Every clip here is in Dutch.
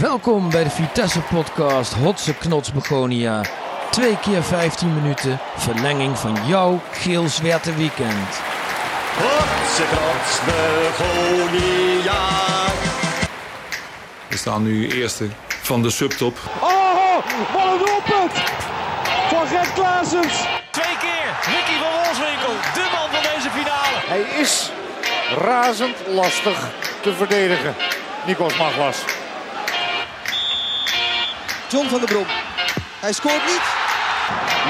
Welkom bij de Vitesse Podcast Hotse Knots Begonia. Twee keer 15 minuten, verlenging van jouw geel zwerte weekend. Hotse knots Begonia. We staan nu eerste van de subtop. Oh, wat een doelpunt! Van Gert Klaasens. Twee keer Ricky van Wolfswinkel, de man van deze finale. Hij is razend lastig te verdedigen. Nikos Maglas. John van der Brom. Hij scoort niet.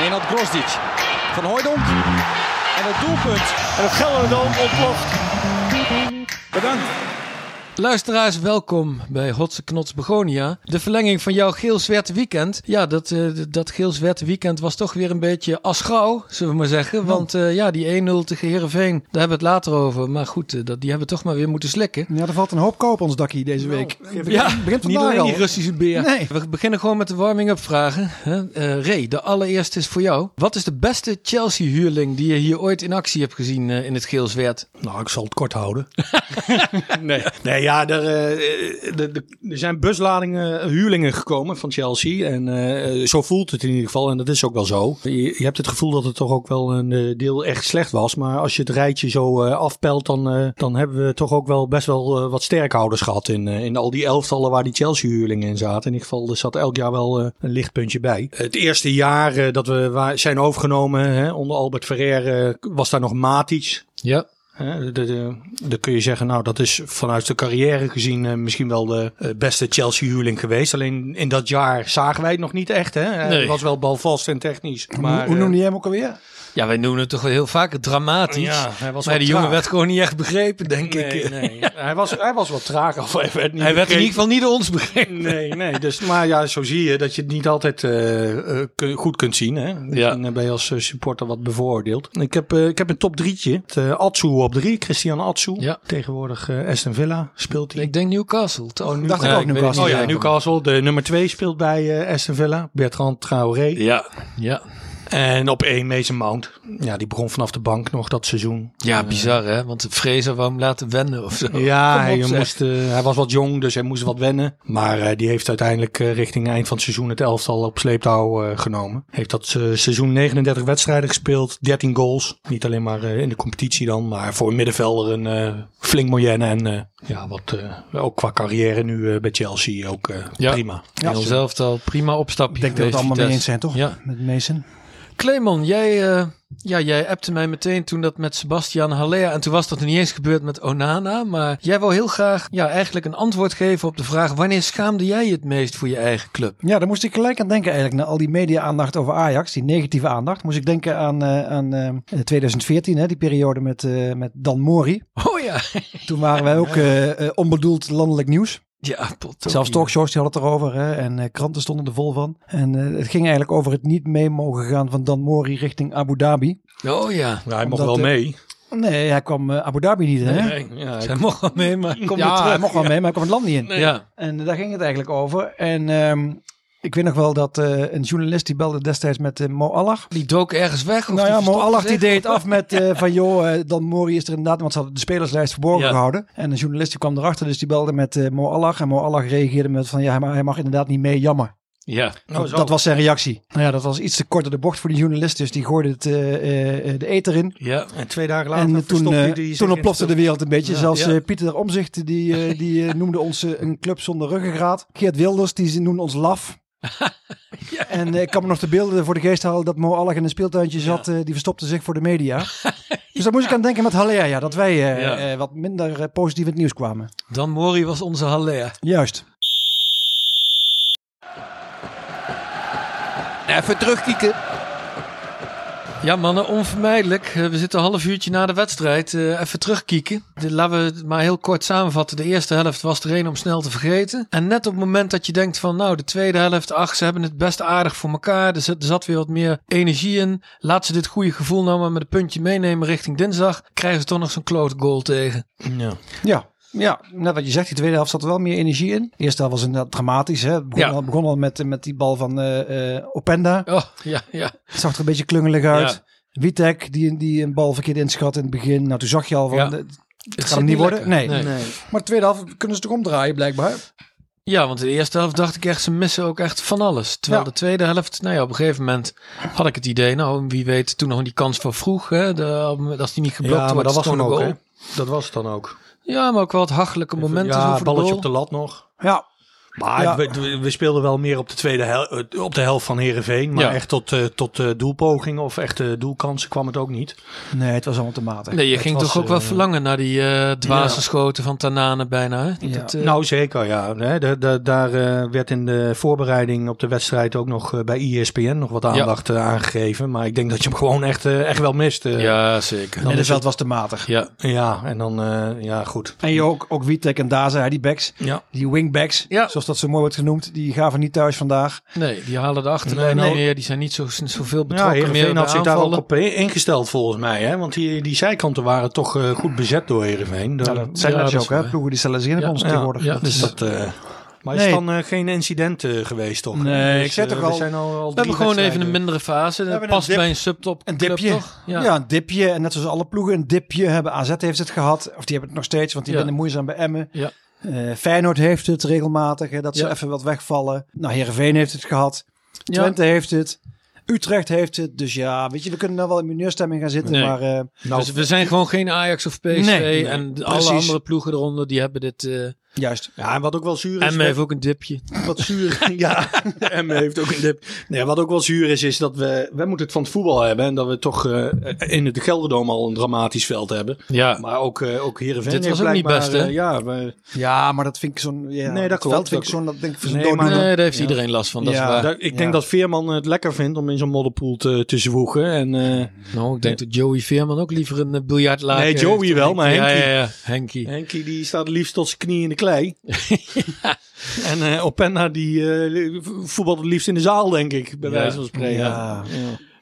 Nenad Grosdic van Hooydonk. En het doelpunt. En het Gelderdoom ontploft. Luisteraars, welkom bij Hotse Knots Begonia. De verlenging van jouw geel zwerte weekend. Ja, dat, eh, d- dat geel zwerte weekend was toch weer een beetje as gauw, zullen we maar zeggen. Want eh, ja, die 1-0 tegen Heerenveen, daar hebben we het later over. Maar goed, eh, dat, die hebben we toch maar weer moeten slikken. Ja, er valt een hoop koop ons dakkie deze week. Ja, begint niet vandaag alleen al. die Russische beer. Nee. We beginnen gewoon met de warming-up vragen. hè. Eh, Ray, de allereerste is voor jou. Wat is de beste Chelsea-huurling die je hier ooit in actie hebt gezien eh, in het geel zwert? Nou, ik zal het kort houden. Nee, nee ja, er, eh, eh, er, er- er zijn busladingen eh, huurlingen gekomen van Chelsea. En eh, eh, zo voelt het in ieder geval. En dat is ook wel zo. Je, je hebt het gevoel dat het toch ook wel een eh, deel echt slecht was. Maar als je het rijtje zo eh, afpelt, dan, eh, dan hebben we toch ook wel best wel eh, wat sterkhouders gehad. In, eh, in al die elftallen waar die Chelsea huurlingen in zaten. In ieder geval, er zat elk jaar wel eh, een lichtpuntje bij. Het eerste jaar eh, dat we wa- zijn overgenomen hè, onder Albert Ferrer eh, was daar nog Matic. Ja, Hè, de- de- Dan kun je zeggen, nou, dat is vanuit de carrière gezien eh, misschien wel de eh, beste Chelsea-huurling geweest. Alleen in dat jaar zagen wij het nog niet echt. Hè? Hij Nee. was wel balvast en technisch. Maar, Maar, hoe eh, noemde jij hem ook alweer? ja wij noemen het toch wel heel vaak dramatisch. Ja, hij was maar wel die jongen traag. werd gewoon niet echt begrepen, denk ik. nee. hij, was, hij was wat traag. Of hij werd niet Hij werd in begrepen. ieder geval niet door ons begrepen. Nee, nee. Dus, maar ja, zo zie je dat je het niet altijd eh, eh, kun- goed kunt zien. Hè? Misschien eh, ben je als eh, supporter wat bevoordeeld. Ik heb, eh, ik heb een top drietje. Het, eh, Atsu op drie, Christian Atsu. Ja. Tegenwoordig eh, Aston Villa speelt hij. Ik denk Newcastle, toch? Oh, nu- Dacht ik ook weet het Newcastle. niet Oh ja, zeker. Newcastle, de nummer 2 speelt bij eh, Aston Villa. Bertrand Traoré. Ja, Oh, ja. En op 1 Mason Mount. Ja, die begon vanaf de bank nog dat seizoen. ja bizar hè, want Fraser wou hem laten wennen of zo. Ja, Kom op, hij, zeg. moest, eh, hij was wat jong, dus hij moest wat wennen. Maar eh, die heeft uiteindelijk eh, richting eind van het seizoen het elftal op sleeptouw eh, genomen. Heeft dat eh, seizoen 39 wedstrijden gespeeld, 13 goals. Niet alleen maar eh, in de competitie dan, maar voor een middenvelder een eh, flink moyenne. En eh, ja, wat, eh, ook qua carrière nu eh, bij Chelsea ook eh, Ja. prima. Ja, zelf al prima opstapje Ik denk dat we het geweest, allemaal mee Vitesse. eens zijn, toch? Ja. Met Mason. Clemon, jij, eh, ja, jij appte mij meteen toen dat met Sebastian Haller. En toen was dat nog niet eens gebeurd met Onana. Maar jij wou heel graag ja, eigenlijk een antwoord geven op de vraag: wanneer schaamde jij je het meest voor je eigen club? Ja, daar moest ik gelijk aan denken eigenlijk. Na al die media-aandacht over Ajax, die negatieve aandacht, moest ik denken aan, eh, aan eh, 2014, hè, die periode met, eh, met Dan Mori. Oh ja. Toen waren wij ook eh, eh, onbedoeld landelijk nieuws. Ja, pot. Zelfs talkshows die hadden het erover hè, en eh, kranten stonden er vol van. En eh, het ging eigenlijk over het niet mee mogen gaan van Dan Mori richting Abu Dhabi. Oh ja. Ja, hij mocht Omdat, wel eh, mee. Nee, hij kwam eh, Abu Dhabi niet in. Hè? ja, Hij mocht wel mee, maar kom ja, weer terug. hij mocht wel mee, maar hij kwam het land niet in. Ja. En daar ging het eigenlijk over. En ehm, ik weet nog wel dat eh, een journalist die belde destijds met eh, Mo Allah. Die dook ergens weg. Of Nou ja, die Mo verstopte Allah zich. die deed het af met eh, van joh, eh, dan Mori is er inderdaad, want ze hadden de spelerslijst verborgen Ja. gehouden. En een journalist die kwam erachter, dus die belde met eh Mo Allah. En Mo Allah reageerde met van ja, hij mag, hij mag inderdaad niet mee, jammer. Ja. Dat- dat was zijn reactie. Nou ja, dat was iets te kort door de bocht voor die journalist, dus die gooide het, eh, eh, eh, de eter in. Ja. En twee dagen later En toen, verstopte eh, hij die zich toen in ontplofte het- de wereld een beetje. Zelfs ja. eh, Pieter Omzicht die, eh, die eh, noemde ons eh, een club zonder ruggengraat. Geert Wilders die ze noemde ons laf. En eh, ik kan me nog de beelden voor de geest halen dat Mo Allag in een speeltuintje zat. eh, die verstopte zich voor de media. Dus daar moest ik aan denken met Haller. Ja, dat wij eh, Ja. eh, wat minder eh, positief in het nieuws kwamen. Dan Mori was onze Haller. Juist. Even terugkieken. Ja, mannen, onvermijdelijk. Eh, We zitten een half uurtje na de wedstrijd. Eh, even terugkieken. De, laten we het maar heel kort samenvatten. De eerste helft was er één om snel te vergeten. En net op het moment dat je denkt van, nou, de tweede helft, ach, ze hebben het best aardig voor elkaar. Er zat, er zat weer wat meer energie in. Laat ze dit goede gevoel nou maar met een puntje meenemen richting dinsdag. Krijgen ze toch nog zo'n kloot goal tegen. Ja. Ja, net wat je zegt, die tweede helft zat er wel meer energie in. De eerste helft was inderdaad dramatisch. Hè. Het begon, Ja. al, begon al met, met die bal van eh, eh, Openda. Oh, ja, ja. Het zag er een beetje klungelig uit. Witek, die, die een bal verkeerd inschat in het begin. Nou, toen zag je al van, Ja. eh, het, zit gaat hem niet niet worden. lekker. Nee. Maar de tweede helf kunnen ze toch omdraaien, blijkbaar. Ja, want in de eerste helft dacht ik echt, ze missen ook echt van alles. Terwijl Ja. de tweede helft, nou ja, op een gegeven moment had ik het idee, nou wie weet, toen nog die kans van vroeg, hè, de, als die niet geblokt ja, maar wordt, dat was is het dan gewoon ook, een hè? goal. Dat was het dan ook. Ja, maar ook wel het hachelijke momenten. zo ja, voor de balletje goal. op de lat nog. Ja, Maar Ja. we, we speelden wel meer op de, tweede hel- eh, op de helft van Herenveen. Maar Ja. echt tot, eh, tot eh, doelpogingen of echte doelkansen kwam het ook niet. nee, het was allemaal te matig. Nee, je Het ging was, toch ook wel eh, verlangen naar die eh dwaze schoten van Tanane bijna. Hè? Ja. Dat, eh, nou, zeker, ja. Nee, da- da- daar eh, werd in de voorbereiding op de wedstrijd ook nog eh, bij ESPN nog wat aandacht eh, aangegeven. Maar ik denk dat je hem gewoon echt, eh, echt wel mist. eh. ja, zeker. Het middenveld was te matig. Ja. Ja, en dan, eh, ja, goed. En je ook, ook Witek en Daza, hè, die backs, Ja. die wingbacks, Ja. zoals dat zo mooi wordt genoemd, die gaven niet thuis vandaag. Nee, die halen de achterlijn Nee, nee, nee. Die zijn niet zo, zoveel Ja, betrokken meer Heerenveen bij had zich daar ook aanvallen. op eh, ingesteld volgens mij. Hè? Want die, die zijkanten waren toch eh, goed bezet door Heerenveen. Daar- dat zijn ja, dat dat ook, is hè? waar. Ploegen die stellen zich in op ons ja, tegenwoordig. ja, Dat dus is- dat, eh, maar is Nee. dan eh, geen incident eh, geweest toch? Nee, ik zei eh, toch we al- zijn al, al We hebben gewoon even een mindere fase. Dat hebben een past dip- bij een subtop. Een club, dipje. toch? Ja. Ja. een dipje. En net zoals alle ploegen een dipje hebben. AZ heeft het gehad. Of die hebben het nog steeds, want die Ja. winnen moeizaam bij Emmen. Ja. Eh, Feyenoord heeft het regelmatig, hè, dat ze Ja. even wat wegvallen. Nou, Heerenveen heeft het gehad. Ja. Twente heeft het. Utrecht heeft het. Dus ja, weet je, we kunnen daar wel in mineurstemming gaan zitten. Nee. Maar eh, Nou. dus we zijn gewoon geen Ajax of PSV. Nee, nee, en de- precies. Dus alle andere ploegen eronder, die hebben dit. eh juist. Ja, en wat ook wel zuur is... en heeft ook een dipje. wat zuur. ja, Emme heeft ook een dip. Nee, wat ook wel zuur is, is dat we... Wij moeten het van het voetbal hebben. En dat we toch eh, in het Gelderdoom al een dramatisch veld hebben. Ja. Maar ook, eh ook Heerenveen Dit was heeft ook niet blijkbaar, best, hè? eh, ja, we, Ja, maar dat vind ik zo'n... Ja, Nee, dat het klopt. veld vind ik Dat- zo'n... Dat denk ik voor zo'n Nee, maar- dooddoener. Nee, daar heeft iedereen last van. Dat Ja. is waar. Daar- ik denk Ja. dat Veerman het lekker vindt om in zo'n modderpoel te, te zwoegen. En, eh Nou, ik denk dat Joey Veerman ook liever een eh, biljartlaken Nee, Joey heeft. wel, maar Ja, Henkie- ja, ja. Henkie. Henkie die staat liefst tot zijn knie in de klei. En eh Openna die eh, voetbalt het liefst in de zaal, denk ik, bij Ja. wijze van spreken. Ja.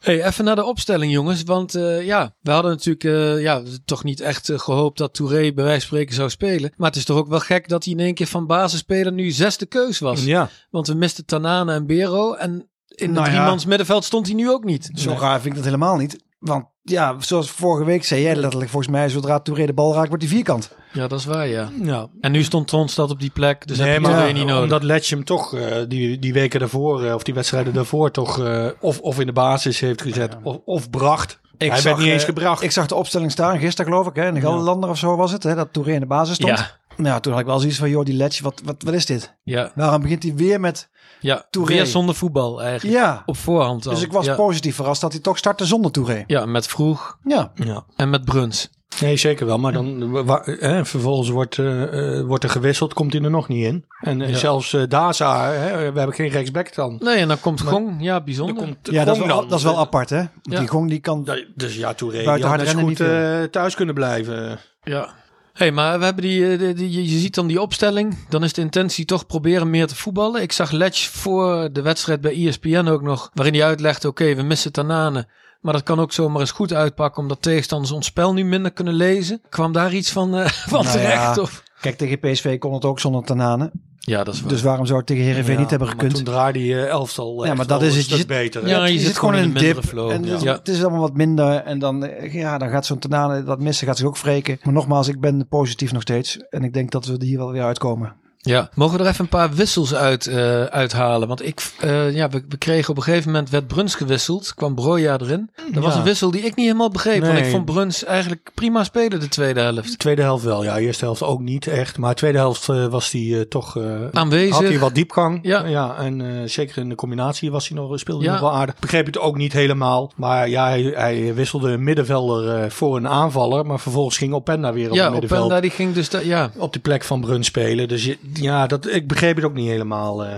Hey, even naar de opstelling, jongens. Want eh, ja, we hadden natuurlijk eh, ja, toch niet echt eh, gehoopt dat Touré bij wijze van spreken zou spelen. Maar het is toch ook wel gek dat hij in één keer van basisspeler nu zesde keus was. Ja. Want we misten Tanane en Bero. En in Nou het ja. driemans middenveld stond hij nu ook niet. Zo raar vind ik dat helemaal niet. Want ja, zoals vorige week zei jij letterlijk volgens mij... zodra Touré de bal raakt, wordt hij vierkant. Ja, dat is waar, ja. ja. En nu stond Tronstad op die plek, dus heb nee, je maar Touré niet nodig. omdat Letje hem toch eh, die, die weken daarvoor, eh, of die wedstrijden daarvoor, toch eh, of, of in de basis heeft gezet of, of bracht. Hij werd niet eens eh, gebracht. Ik zag de opstelling staan gisteren, geloof ik. Hè, in de Gelderlander of zo was het. Hè, dat Touré in de basis stond. Ja. Nou, toen had ik wel zoiets van, joh, die Letje, wat, wat, wat is dit? Ja, Waarom begint hij weer met... ja. Touré. Weer zonder voetbal eigenlijk. Ja, Op voorhand al. dus ik was ja. positief verrast dat hij toch startte zonder Touré. ja, met Vroeg Ja, ja. en met Bruns. Nee, zeker wel. Maar dan wa- wa- hè, vervolgens wordt, eh, eh, wordt er gewisseld, komt hij er nog niet in. En eh, Ja. zelfs eh, Daza, hè, we hebben geen rechtsback dan. Nee, en dan komt Gong. Ja, bijzonder. ja dat, is wel, dan. dat is wel apart, hè? Want Ja. Die Gong, die kan... Dat- Dus ja, Touré die Buiten had hard net zo rennen goed niet eh, thuis kunnen blijven. Ja. hey, maar we hebben die, eh, die- die- je- je ziet dan die opstelling. Dan is de intentie toch proberen meer te voetballen. Ik zag Letch voor de wedstrijd bij E ESPN ook nog, waarin hij uitlegde, oké, we missen Tanane. Maar dat kan ook zomaar eens goed uitpakken, omdat tegenstanders ons spel nu minder kunnen lezen. Kwam daar iets van, eh, van Nou ja. terecht? Of? Kijk, tegen PSV kon het ook zonder Tanane. Ja, dat is waar. Dus waarom zou het tegen Heerenveen Ja, niet hebben maar gekund? Toen draaide je elftal eh, Ja, maar echt dat wel is een het. Je stuk zit- beter. Ja, je zit gewoon in een dip. mindere flow. En Ja. het, Ja. het is allemaal wat minder. En dan, eh, ja, dan gaat zo'n Tanane, dat missen gaat zich ook wreken. Maar nogmaals, ik ben positief nog steeds. En ik denk dat we er hier wel weer uitkomen. Ja, mogen we er even een paar wissels uit, eh, uithalen? Want ik, eh, ja, we, we kregen op een gegeven moment, werd Bruns gewisseld, kwam Broja erin. Dat was Ja. een wissel die ik niet helemaal begreep, want ik Nee. vond Bruns eigenlijk prima spelen de tweede helft. Tweede helft wel, ja. Eerste helft ook niet echt. Maar tweede helft eh, was hij eh, toch... eh, Aanwezig. Had hij wat diepgang. Ja. en eh, zeker in de combinatie was hij nog, eh, speelde hij Ja. nog wel aardig. Begreep het ook niet helemaal. Maar ja, hij, hij wisselde een middenvelder eh, voor een aanvaller. Maar vervolgens ging Openda weer op Ja, het middenveld. Openda die ging dus... da- ja. Op de plek van Brun spelen. Dus je- ja, dat, ik begreep het ook niet helemaal. eh,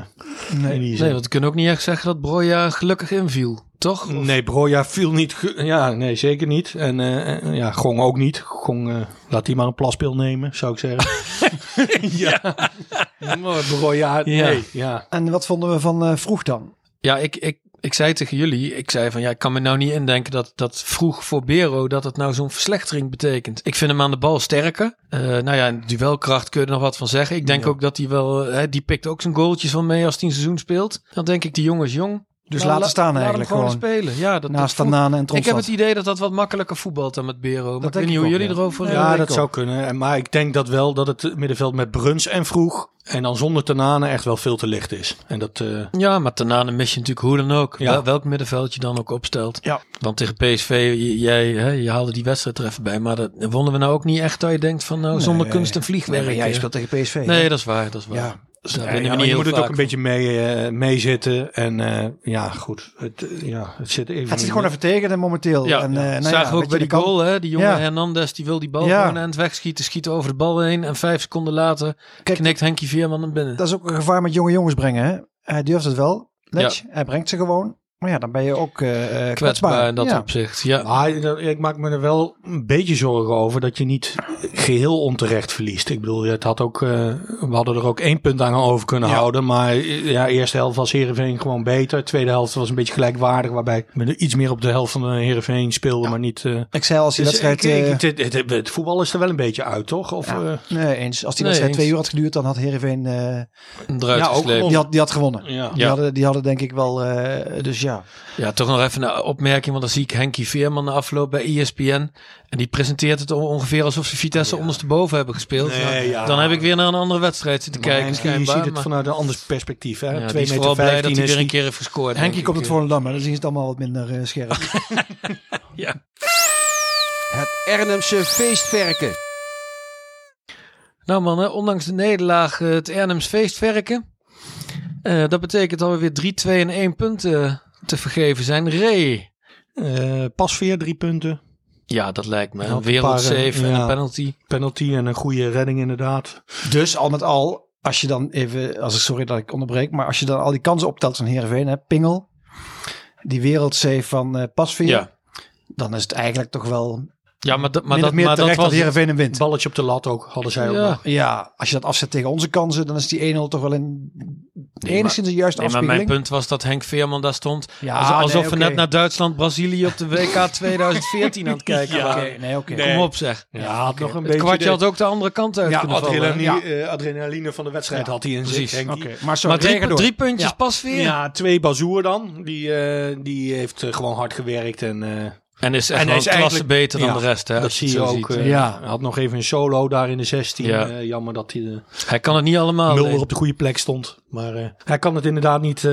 in die zin. Nee, want we kunnen ook niet echt zeggen dat Broja gelukkig inviel, toch? Of- Nee, Broja viel niet. ge- Ja, nee, zeker niet. En eh, eh, ja, Gong ook niet. Gong, eh, laat die maar een plaspil nemen, zou ik zeggen. ja. Maar Broja, nee. Ja. En wat vonden we van eh, vroeg dan? Ja, ik, ik, ik zei tegen jullie, ik zei van ja, ik kan me nou niet indenken dat, dat vroeg voor Bero dat het nou zo'n verslechtering betekent. Ik vind hem aan de bal sterker. Eh, nou ja, in duelkracht kun je er nog wat van zeggen. Ik denk ook dat hij wel, hè, die pikt ook zijn goaltjes van mee als hij een seizoen speelt. Dan denk ik, die jongen is jong. Dus Nou, laten la- staan laat hem eigenlijk gewoon. spelen. Ja, dat, Naast dat voel- Tanane en Ik heb het Tronstad. idee dat dat wat makkelijker voetbalt dan met Bero. Maar denk ik weet niet ik hoe ook, jullie ja. erover Nee, Ja, dat Ja, denk dat ik zou kunnen. En- Maar ik denk dat wel dat het middenveld met Bruns en Vroeg en dan zonder Tanane echt wel veel te licht is. En dat, eh, Ja, maar Tanane mis je natuurlijk hoe dan ook. Ja. Wel- Welk middenveld je dan ook opstelt. Ja. Want tegen PSV, j- jij hè, je haalde die wedstrijd er even bij. Maar dat wonnen we nou ook niet echt dat je denkt van nou, zonder kunst en vliegwerk. Nee, jij eh. speelt tegen PSV. hè? Nee, dat is waar. Dat is waar. Ja. Dus daar ja, winnen we maar niet je heel moet het ook vaak een beetje mee, eh, meezitten. En eh, ja, goed. Het, eh, ja, het zit even. Het zit niet gewoon mee. even tegen hè, momenteel. Mm. Ja, en, eh, nou zagen ja, we weet ook je, bij de die kant- goal. Hè? Die jonge Ja. Hernandez die wil die bal Ja. gewoon aan het wegschieten. Schiet over de bal heen. En vijf seconden later Kijk, knikt Henkie Veerman hem binnen. Dat is ook een gevaar met jonge jongens brengen. Hè? Hij durft het wel. Letch, Hij brengt ze gewoon. Maar ja, dan ben je ook eh, eh, kwetsbaar. Kwetsbaar in dat ja. opzicht. Ja. Maar ik- ik maak me er wel een beetje zorgen over dat je niet geheel onterecht verliest. Ik bedoel, het had ook, eh, we hadden er ook één punt aan over kunnen houden. Maar eh, ja, eerste helft was Heerenveen gewoon beter. Tweede helft was een beetje gelijkwaardig. Waarbij we er iets meer op de helft van de Heerenveen speelden, maar niet... eh, Ik zei als die dus wedstrijd... ik- ik- eh, het, het- het- het voetbal is er wel een beetje uit, toch? Of, eh, nee, eens. Als die Nee, wedstrijd eens. twee uur had geduurd, dan had Heerenveen... eh, Eruit Ja, ook gesleept. om- die, had, die had gewonnen. Ja. Die, Ja. hadden, die hadden denk ik wel... eh, dus ja. Ja, toch nog even een opmerking, want dan zie ik Henkie Veerman na afloop bij E ESPN. En die presenteert het on- ongeveer alsof ze Vitesse ondersteboven hebben gespeeld. Oh, Nee, Nou, ja. Dan heb ik weer naar een andere wedstrijd zitten maar kijken. Henkie, je schijnbaar, ziet het maar- vanuit een ander perspectief. Hè? Ja, die 2 is meter vooral blij dat 15 hij is weer een hij. keer heeft gescoord. Henkie denk komt ik. eh. het voor een lam, maar dan zien ze het allemaal wat minder eh, scherp. Ja. Het Ernemse feestverken. Nou mannen, ondanks de nederlaag eh, het Ernems feest werken. Eh, dat betekent dat we weer 3, 2 en 1 punten te vergeven zijn. Ray. Eh, Pasveer drie punten. Ja, dat lijkt me. Ja, Een wereldsave paar, eh, en ja. een penalty. Penalty en een goede redding inderdaad. dus al met al, als je dan even... Als ik, sorry dat ik onderbreek, maar als je dan al die kansen optelt van Heerenveen, hè, Pingel... Die wereldzee van eh Pasveer, Ja, dan is het eigenlijk toch wel ja maar, dat- maar, min dat, of meer maar dat terecht dat was... Heerenveen hem wint. Balletje op de lat ook, hadden zij ook nog. Ja. Ja, als je dat afzet tegen onze kansen, dan is die 1-0 toch wel een enigszins een juiste Nee, maar mijn afspiegeling. punt was dat Henk Veerman daar stond. Ja, als- alsof nee, we oké. net naar Duitsland, Brazilië op de WK 2014 aan het kijken Ja, waren. oké, nee, oké. Kom op zeg. Ja, had nog een Het kwartje de- had ook de andere kant uit ja, kunnen vallen. hè? adrenaline, eh, adrenaline van de wedstrijd had hij in zich. precies. denk ik. Oké, maar zo, Maar drie, regen door. drie puntjes pas weer. Ja, twee Bazoer dan. Die, eh, die heeft eh, gewoon hard gewerkt. En, eh, En is echt en wel hij een is klasse eigenlijk- beter dan ja, de rest. Hè, dat als zie het je zo ook. ziet. eh, Ja. Hij had nog even een solo daar in de 16. Ja. Oh, Eh, jammer dat hij de Hij kan het niet allemaal. Mulder lezen. op de goede plek stond. Maar eh, hij kan het inderdaad niet eh,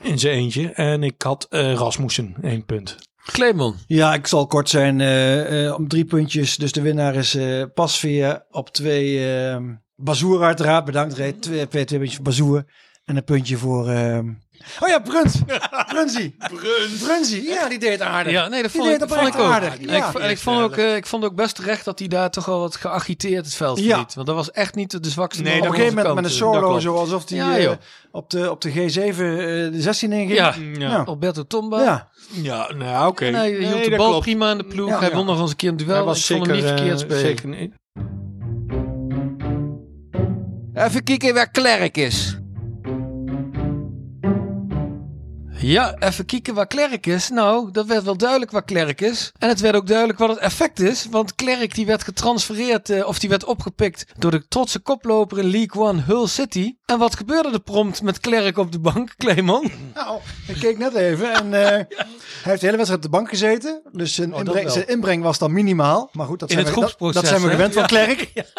in zijn eentje. En ik had eh, Rasmussen één punt. Clemon. Ja, ik zal kort zijn. eh, eh, om drie puntjes. Dus de winnaar is eh Pasveer op twee. ehm Bazoer uiteraard, bedankt. Ray. Twee, twee, twee puntjes voor Bazoer. En een puntje voor... ehm, Oh ja, Bruns. Brunsie. Brunsie. Ja, die deed het aardig. Ja, nee, dat Die vond ik, deed vond ik oprecht ook. aardig, Ik- ja. ik, ik, vond ook eh, ik vond ook best terecht dat hij daar toch wel wat geagiteerd het veld Ja. verliet. Want dat was echt niet de zwakste Nee, man Op een aan gegeven onze moment met een kant. Dat solo, klopt. zo alsof die Ja, eh, joh. op, de, op de G7 eh, de 16 in ging. Ja. Nou, Alberto Tomba. ja. Ja, nou oké. En hij hield de bal prima in de ploeg. Ja, hij ja. won nog eens een keer een duel. Hij was ik zeker, vond hem niet verkeerd eh, spelen. zeker niet- Even kijken waar Klerk is. Ja, even kijken waar Klerk is. Nou, dat werd wel duidelijk waar Klerk is. En het werd ook duidelijk wat het effect is. Want Klerk die werd getransfereerd, eh, of die werd opgepikt door de trotse koploper in League One, Hull City. En wat gebeurde er prompt met Klerk op de bank, Clemon? Nou, ik keek net even en eh, hij heeft de hele wedstrijd op de bank gezeten. Dus zijn, inbreng, wel. zijn inbreng was dan minimaal. Maar goed, dat, Oh, In het zijn, we, dat, groepsproces, dat zijn we hè? gewend van Klerk.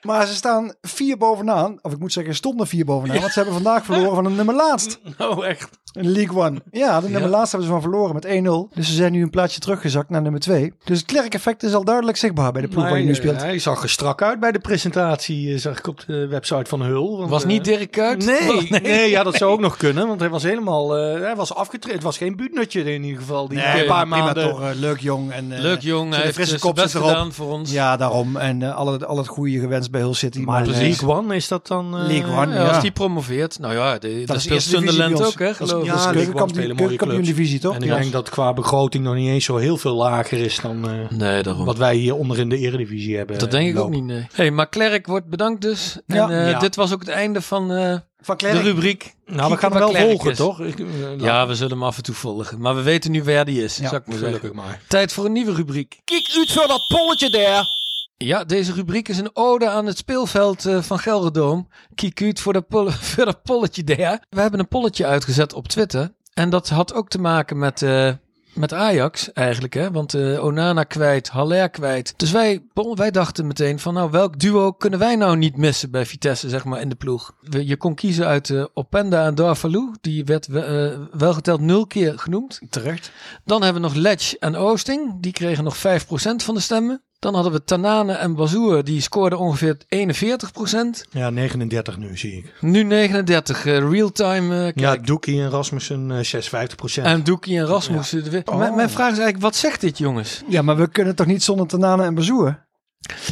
Maar ze staan vier bovenaan. Of ik moet zeggen, stonden vier bovenaan. Want ze hebben vandaag verloren van een nummer laatst. Oh, echt? In League One. Ja, de nummer laatst hebben ze van verloren met 1-0. Dus ze zijn nu een plaatsje teruggezakt naar nummer 2. Dus het Klerk-effect is al duidelijk zichtbaar bij de ploeg waar je nu eh, speelt. Hij zag er strak uit bij de presentatie, eh, zag ik op de website van Hul. want, Was eh, niet Dirk Kuyt? Nee, nee. nee, ja, dat zou ook nog kunnen, want hij was helemaal, eh, hij was afgetreden. Het was geen buutnutje in ieder geval. Die een paar prima maanden. toch, eh, leuk jong. En, eh, Leuk jong, zit hij heeft een eh, frisse zijn kop best zit erop. gedaan voor ons. Ja, daarom. En eh, al, het, al het goede gewenst bij Hull City. Maar eh, League One is dat dan? eh, League One, Ah, Ja, ja. Als die promoveert, nou ja, de, dat, is de speelt eerste divisie Sunderland bij ons. ook, hè, Dat is- geloof ik. Ja, Ja, League leuke One spelen mooie kampioen clubs. divisie toch? En ik Ja. denk dat qua begroting nog niet eens zo heel veel lager is dan eh, Nee, daarom. wat wij hier onder in de eredivisie hebben. dat denk ik ook lopen. niet, nee. hey, maar Klerk wordt bedankt dus. En Ja. eh, Ja. dit was ook het einde van eh, de Van Klerk. rubriek. Nou, we gaan Kieken hem wel waar Klerk volgen, is. toch? Ik, eh, Ja, we zullen hem af en toe volgen. Maar we weten nu waar die is, Ja, zou ik maar zeggen. gelukkig maar. Tijd voor een nieuwe rubriek. Kijk uit voor dat polletje daar. Ja, deze rubriek is een ode aan het speelveld eh, van Gelderdoom. Kiekuut voor, dat pol- voor dat polletje daar. We hebben een polletje uitgezet op Twitter. En dat had ook te maken met, eh, met Ajax eigenlijk. Hè? Want eh, Onana kwijt, Haller kwijt. Dus wij, bon, wij dachten meteen van nou welk duo kunnen wij nou niet missen bij Vitesse zeg maar in de ploeg. We- je kon kiezen uit eh, Openda en Darvalu. Die werd we- eh, wel geteld nul keer genoemd. Terecht. Dan hebben we nog Letch en Oosting. Die kregen nog 5% van de stemmen. Dan hadden we Tanane en Bazoer. Die scoorden ongeveer 41%. Ja, 39 nu zie ik. Nu 39. eh, Real-time eh, Ja, Doekie en Rasmussen eh, 56 procent. en Doekie en Rasmus. eh, de wi- Mijn- Mijn vraag is eigenlijk, wat zegt dit jongens? Ja, maar we kunnen toch niet zonder Tanane en Bazoer?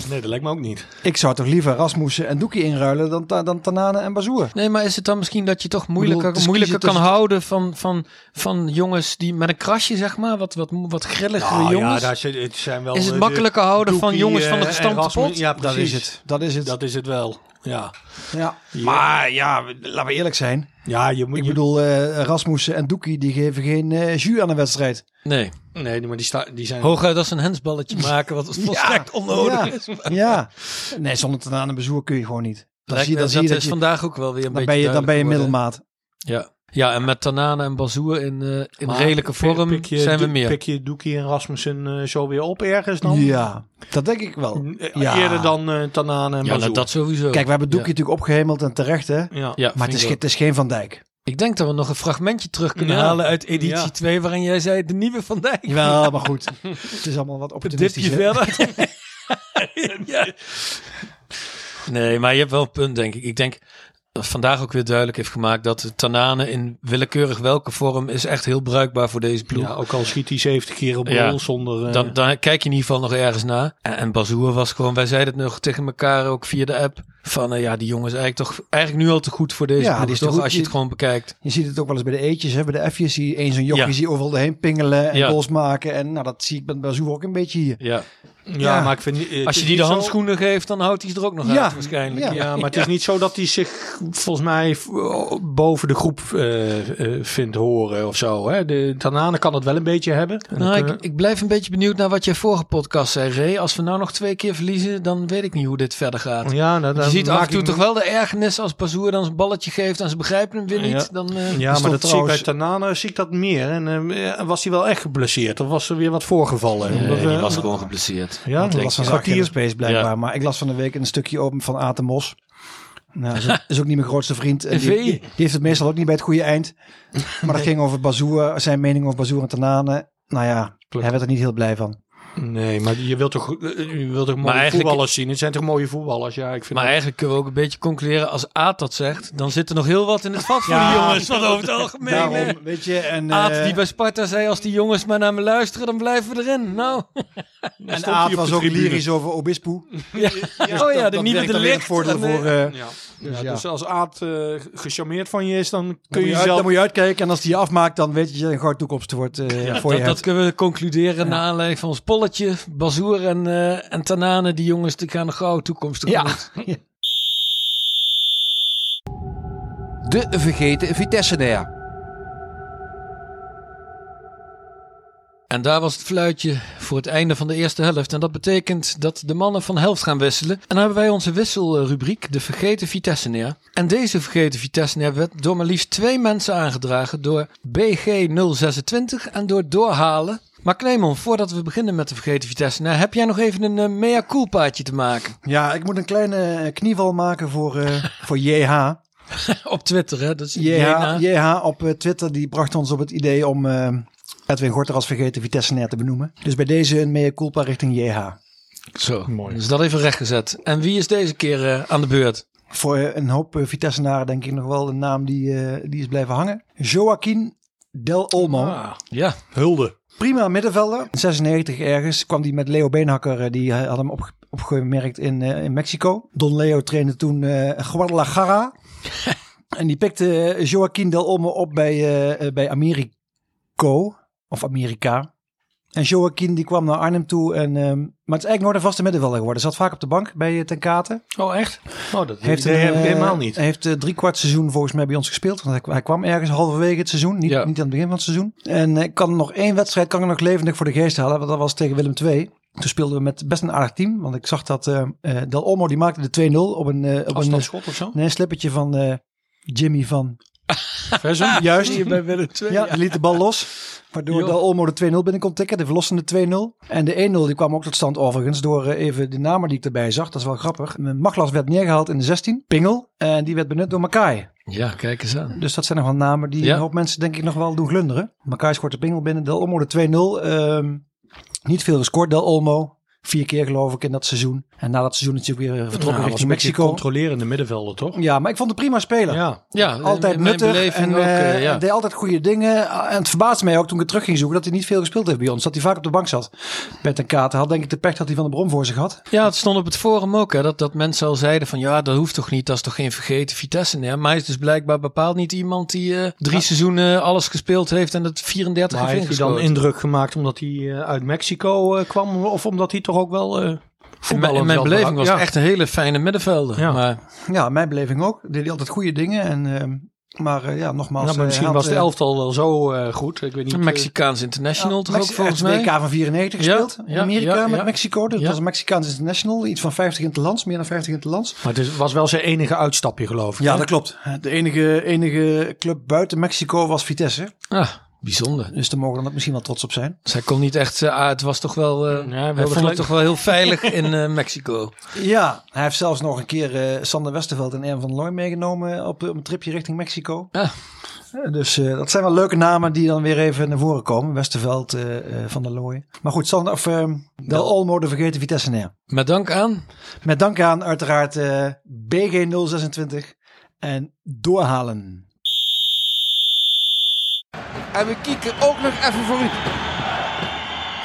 Nee, dat lijkt me ook niet. Ik zou toch liever Rasmussen en Doekie inruilen dan, Ta- dan Tanane en Bazoer? Nee, maar is het dan misschien dat je toch moeilijker, het is moeilijker kan kiezen houden van, van, van jongens die met een krasje, zeg maar, wat, wat, wat grilligere Nou, jongens? Ja, daar zijn- het zijn wel Is het de- makkelijker houden van Doekie, jongens van de eh, en gestampte Rasmussen. pot? Ja, Dat is precies. het. Dat is het. Dat is het wel. Ja, Ja. Maar ja, we- laten we eerlijk zijn. ja je moet. Ik Je, bedoel, eh, Rasmussen en Doekie die geven geen eh jus aan een wedstrijd. Nee, nee, maar die, sta, die zijn. hooguit als een hensballetje maken, wat volstrekt onnodig Ja. is. Ja. Nee, zonder Tanane en Bazoer kun je gewoon niet. Dan Lijkt zie je, me- dan zie je dat dat is je, vandaag ook wel weer een dan ben beetje je, dan ben je duidelijk middelmaat. geworden. Ja. ja, en met Tanane en Bazoer in, eh, in Maar redelijke pik- vorm pik je zijn we Doe- meer. Pik je Doekie en Rasmussen eh, zo weer op ergens dan? Ja, dat denk ik wel. Eh, Ja. Eerder dan eh Tanane en ja, nou, Mazur. dat sowieso. Kijk, we hebben Doekie Ja. natuurlijk opgehemeld en terecht, hè? ja. Ja, Maar vind het is, ik ge- ook. het is geen Van Dijk. Ik denk dat we nog een fragmentje terug kunnen Ja. halen uit editie Ja. 2, waarin jij zei de nieuwe Van Dijk. Jawel, maar goed. Het is allemaal wat Een dipje optimistisch. hè? verder. ja. Nee, maar je hebt wel een punt, denk ik. Ik denk dat vandaag ook weer duidelijk heeft gemaakt dat Tanane in willekeurig welke vorm is echt heel bruikbaar voor deze ploeg. Ja, ook al schiet hij 70 keer op Ja. doel zonder... eh, Dan, dan kijk je in ieder geval nog ergens na. En, en Bazoer was gewoon, wij zeiden het nog tegen elkaar ook via de app. Van eh, ja, die jongen is eigenlijk toch eigenlijk nu al te goed voor deze Ja, ploeg. die is te toch, goed. als je het Die- gewoon bekijkt. Je ziet het ook wel eens bij de eetjes, hè? bij de F'jes. Die één zo'n jochie Ja. zie je overal heen pingelen en Ja. goals maken. En nou, dat zie ik bij Bazoer ook een beetje hier. Ja. ja, ja. maar ik vind... eh, het Als is je die de niet zo- handschoenen geeft, dan houdt hij ze er ook nog Ja. uit waarschijnlijk. Ja. Ja, maar het is niet zo dat hij zich volgens mij v- boven de groep eh, eh, vindt horen of zo. Hè? De Tanane kan dat wel een beetje hebben. En eh, dan Nou, kunnen- ik, ik blijf een beetje benieuwd naar wat jij vorige podcast zei, Ray. Als we nou nog twee keer verliezen, dan weet ik niet hoe dit verder gaat. ja, nou, je dan ziet maak af en toe ik- toch wel de ergernis als Bazoer dan zijn balletje geeft en ze begrijpen hem weer niet. Ja. Dan, eh, Ja, Er maar stond dat trouwens- zie ik bij Tanane zie ik dat meer. En eh, was hij wel echt geblesseerd? Of was er weer wat voorgevallen? Omdat, eh, omdat- gewoon geblesseerd. ja, Want er was denk van je. zijn Kwartier- Achillespees blijkbaar. Maar ik las van de week een stukje open van Aten Mos. Nou, is, ook, is ook niet mijn grootste vriend. En Die, Vee. die heeft het meestal ook niet bij het goede eind. Maar dat ging over Bazoer, zijn mening over Bazoer en Tanane. Nou ja, hij werd er niet heel blij van. Nee, maar je wilt toch, eh, je wilt toch mooie eigenlijk- voetballers zien? Het zijn toch mooie voetballers? Ja, ik vind Maar dat- eigenlijk kunnen we ook een beetje concluderen, als Aad dat zegt, dan zit er nog heel wat in het vat voor die jongens. Wat over het algemeen. hè. Daarom, weet je. En, eh, Aad die bij Sparta zei, als die jongens maar naar me luisteren, dan blijven we erin. Nou, en stond Aad hij op was de ook tribune. lyrisch over Obispo. oh ja, Dat- de dat nieuwe werkt de alleen licht. een voordeel voor... eh, Ja. dus Ja, ja. Dus als Aad eh, gecharmeerd van je is, dan Dan kun je moet je uit- zelf... Dan moet je uitkijken. En als die je afmaakt, dan weet je dat je een grote toekomst wordt eh, voor dat, je dat hebt. kunnen we concluderen na aanleiding van ons polletje. Bazoer en, eh, en Tanane, die jongens, die gaan een gouden toekomst tegemoet. De vergeten Vitesse-nair. En daar was het fluitje voor het einde van de eerste helft. En dat betekent dat de mannen van helft gaan wisselen. En dan hebben wij onze wisselrubriek, de vergeten Vitesse neer. En deze vergeten Vitesse neer werd door maar liefst twee mensen aangedragen. Door BG026 en door Doorhalen. Maar Clemon, voordat we beginnen met de vergeten Vitesse neer, heb jij nog even een eh, mea culpaatje te maken? Ja, ik moet een kleine eh, knieval maken voor, eh, voor JH. Op Twitter, hè? Dat is JH, Jena. JH op eh, Twitter die bracht ons op het idee om eh, Edwin Gorter als vergeten Vitesse net te benoemen. Dus bij deze een mea culpa richting JH. Zo, dus dat even rechtgezet. En wie is deze keer eh, aan de beurt? Voor eh, een hoop eh, Vitesse-naren denk ik nog wel een naam die, eh, die is blijven hangen. Joaquin Del Olmo. Ah, Ja, hulde. Prima middenvelder. 96 ergens kwam die met Leo Beenhakker. eh, Die eh, had hem op, opgemerkt in, eh, in Mexico. Don Leo trainde toen eh Guadalajara. en die pikte eh, Joaquin Del Olmo op bij, eh, eh, bij Americo. Of Amerika. En Joaquin die kwam naar Arnhem toe. En, ehm, maar het is eigenlijk nooit een vaste middenvelder geworden. Zat vaak op de bank bij eh, Ten Katen. Oh, echt? Oh, dat Heeft idee een, heb ik eh, helemaal niet. Hij heeft eh, drie kwart seizoen volgens mij bij ons gespeeld. Want hij, hij kwam ergens halverwege het seizoen. Niet, Ja. niet aan het begin van het seizoen. En ik kan nog één wedstrijd kan ik nog levendig voor de geest halen. Want dat was tegen Willem II. Toen speelden we met best een aardig team. Want ik zag dat eh eh, Del Olmo die maakte de 2-0 op een, eh, op een Als eh, schot of zo? nee, slippertje van eh, Jimmy van Versum, Juist. Hier bij Willem II. Ja, die liet de bal los. Waardoor Joh. de Olmo de 2-0 binnen kon tikken. De verlossende 2-0. En de 1-0 die kwam ook tot stand overigens door eh, even de namen die ik erbij zag. Dat is wel grappig. Maglas werd neergehaald in de 16. Pingel. En die werd benut door Makai. Ja, kijk eens aan. Dus dat zijn nog wel namen die Ja. een hoop mensen denk ik nog wel doen glunderen. Makai scoort de Pingel binnen. Del Olmo de 2-0. Ehm, niet veel gescoord Del Olmo. Vier keer geloof ik in dat seizoen. En na dat seizoen is hij ook weer vertrokken Nou, was richting een beetje Mexico. controlerende middenvelder, toch? Ja, maar ik vond het prima spelen. Ja. Ja, Altijd in mijn nuttig beleving en ook, eh, eh, ja. deed altijd goede dingen. En het verbaasde mij ook toen ik het terug ging zoeken dat hij niet veel gespeeld heeft bij ons. Dat hij vaak op de bank zat. Bert en Kater had denk ik de pech dat hij van de bron voor zich had. ja, het stond op het forum ook. Hè, dat, dat mensen al zeiden van ja, dat hoeft toch niet. Dat is toch geen vergeten Vitesse. Nee, maar hij is dus blijkbaar bepaald niet iemand die eh, drie seizoenen alles gespeeld heeft en het 34 Maar heeft heeft dus hij dan ingescoord. indruk gemaakt omdat hij eh, uit Mexico eh, kwam? Of omdat hij toch ook wel eh In mijn, voetballer in mijn beleving was ja. het echt een hele fijne middenvelder. Ja. Maar Ja, in mijn beleving ook. Deed hij altijd goede dingen. En, ehm, maar eh, ja, nogmaals. Ja, maar eh, misschien hij had, was de eh, elftal wel zo eh, goed. Ik weet niet. een Mexicaans international toch Mexi- ook volgens uit het mij? WK van 94 Ja, gespeeld in ja, Amerika ja, met ja. Mexico. Dus Ja. dat was een Mexicaans international. Iets van 50 in het land, meer dan 50 in het land. eh, maar het is- was wel zijn enige uitstapje, geloof ik. Ja, hè? dat klopt. De enige, enige club buiten Mexico was Vitesse. Ah, bijzonder. Dus daar mogen we dan ook misschien wel trots op zijn. Zij kon niet echt. eh, ah, het was toch wel. eh, hij hij wilde vond het gelijk. toch wel heel veilig in eh, Mexico. Ja, hij heeft zelfs nog een keer eh, Sander Westerveld en Erwin van Looy meegenomen eh, op, op een tripje richting Mexico. Ah. Eh, Dus eh, dat zijn wel leuke namen die dan weer even naar voren komen. Westerveld, eh, eh, Van der Looy. Maar goed, Sander, of, ehm, Del Olmo, de vergeten Vitesse neer. Met dank aan. Met dank aan uiteraard eh, BG026 en doorhalen. En we kieken ook nog even vooruit.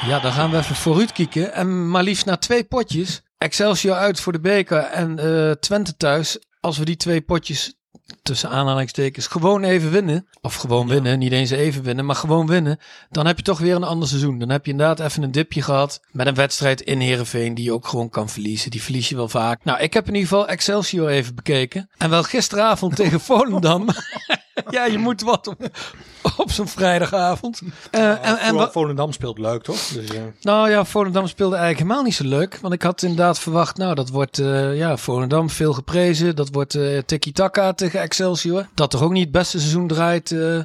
Ja, dan gaan we even vooruit kijken. En maar liefst naar twee potjes. Excelsior uit voor de beker en eh, Twente thuis. Als we die twee potjes tussen aanhalingstekens gewoon even winnen. Of gewoon winnen, niet eens even winnen, maar gewoon winnen. Dan heb je toch weer een ander seizoen. Dan heb je inderdaad even een dipje gehad met een wedstrijd in Heerenveen die je ook gewoon kan verliezen. Die verlies je wel vaak. Nou, ik heb in ieder geval Excelsior even bekeken. En wel gisteravond tegen Volendam. ja, je moet wat op, op zo'n vrijdagavond. Eh, en, en, Vooral wat- Volendam speelt leuk, toch? Dus, eh, nou ja, Volendam speelde eigenlijk helemaal niet zo leuk. Want ik had inderdaad verwacht, nou dat wordt eh, ja, Volendam veel geprezen. Dat wordt eh tiki-taka tegen Excelsior. Dat toch ook niet het beste seizoen draait eh,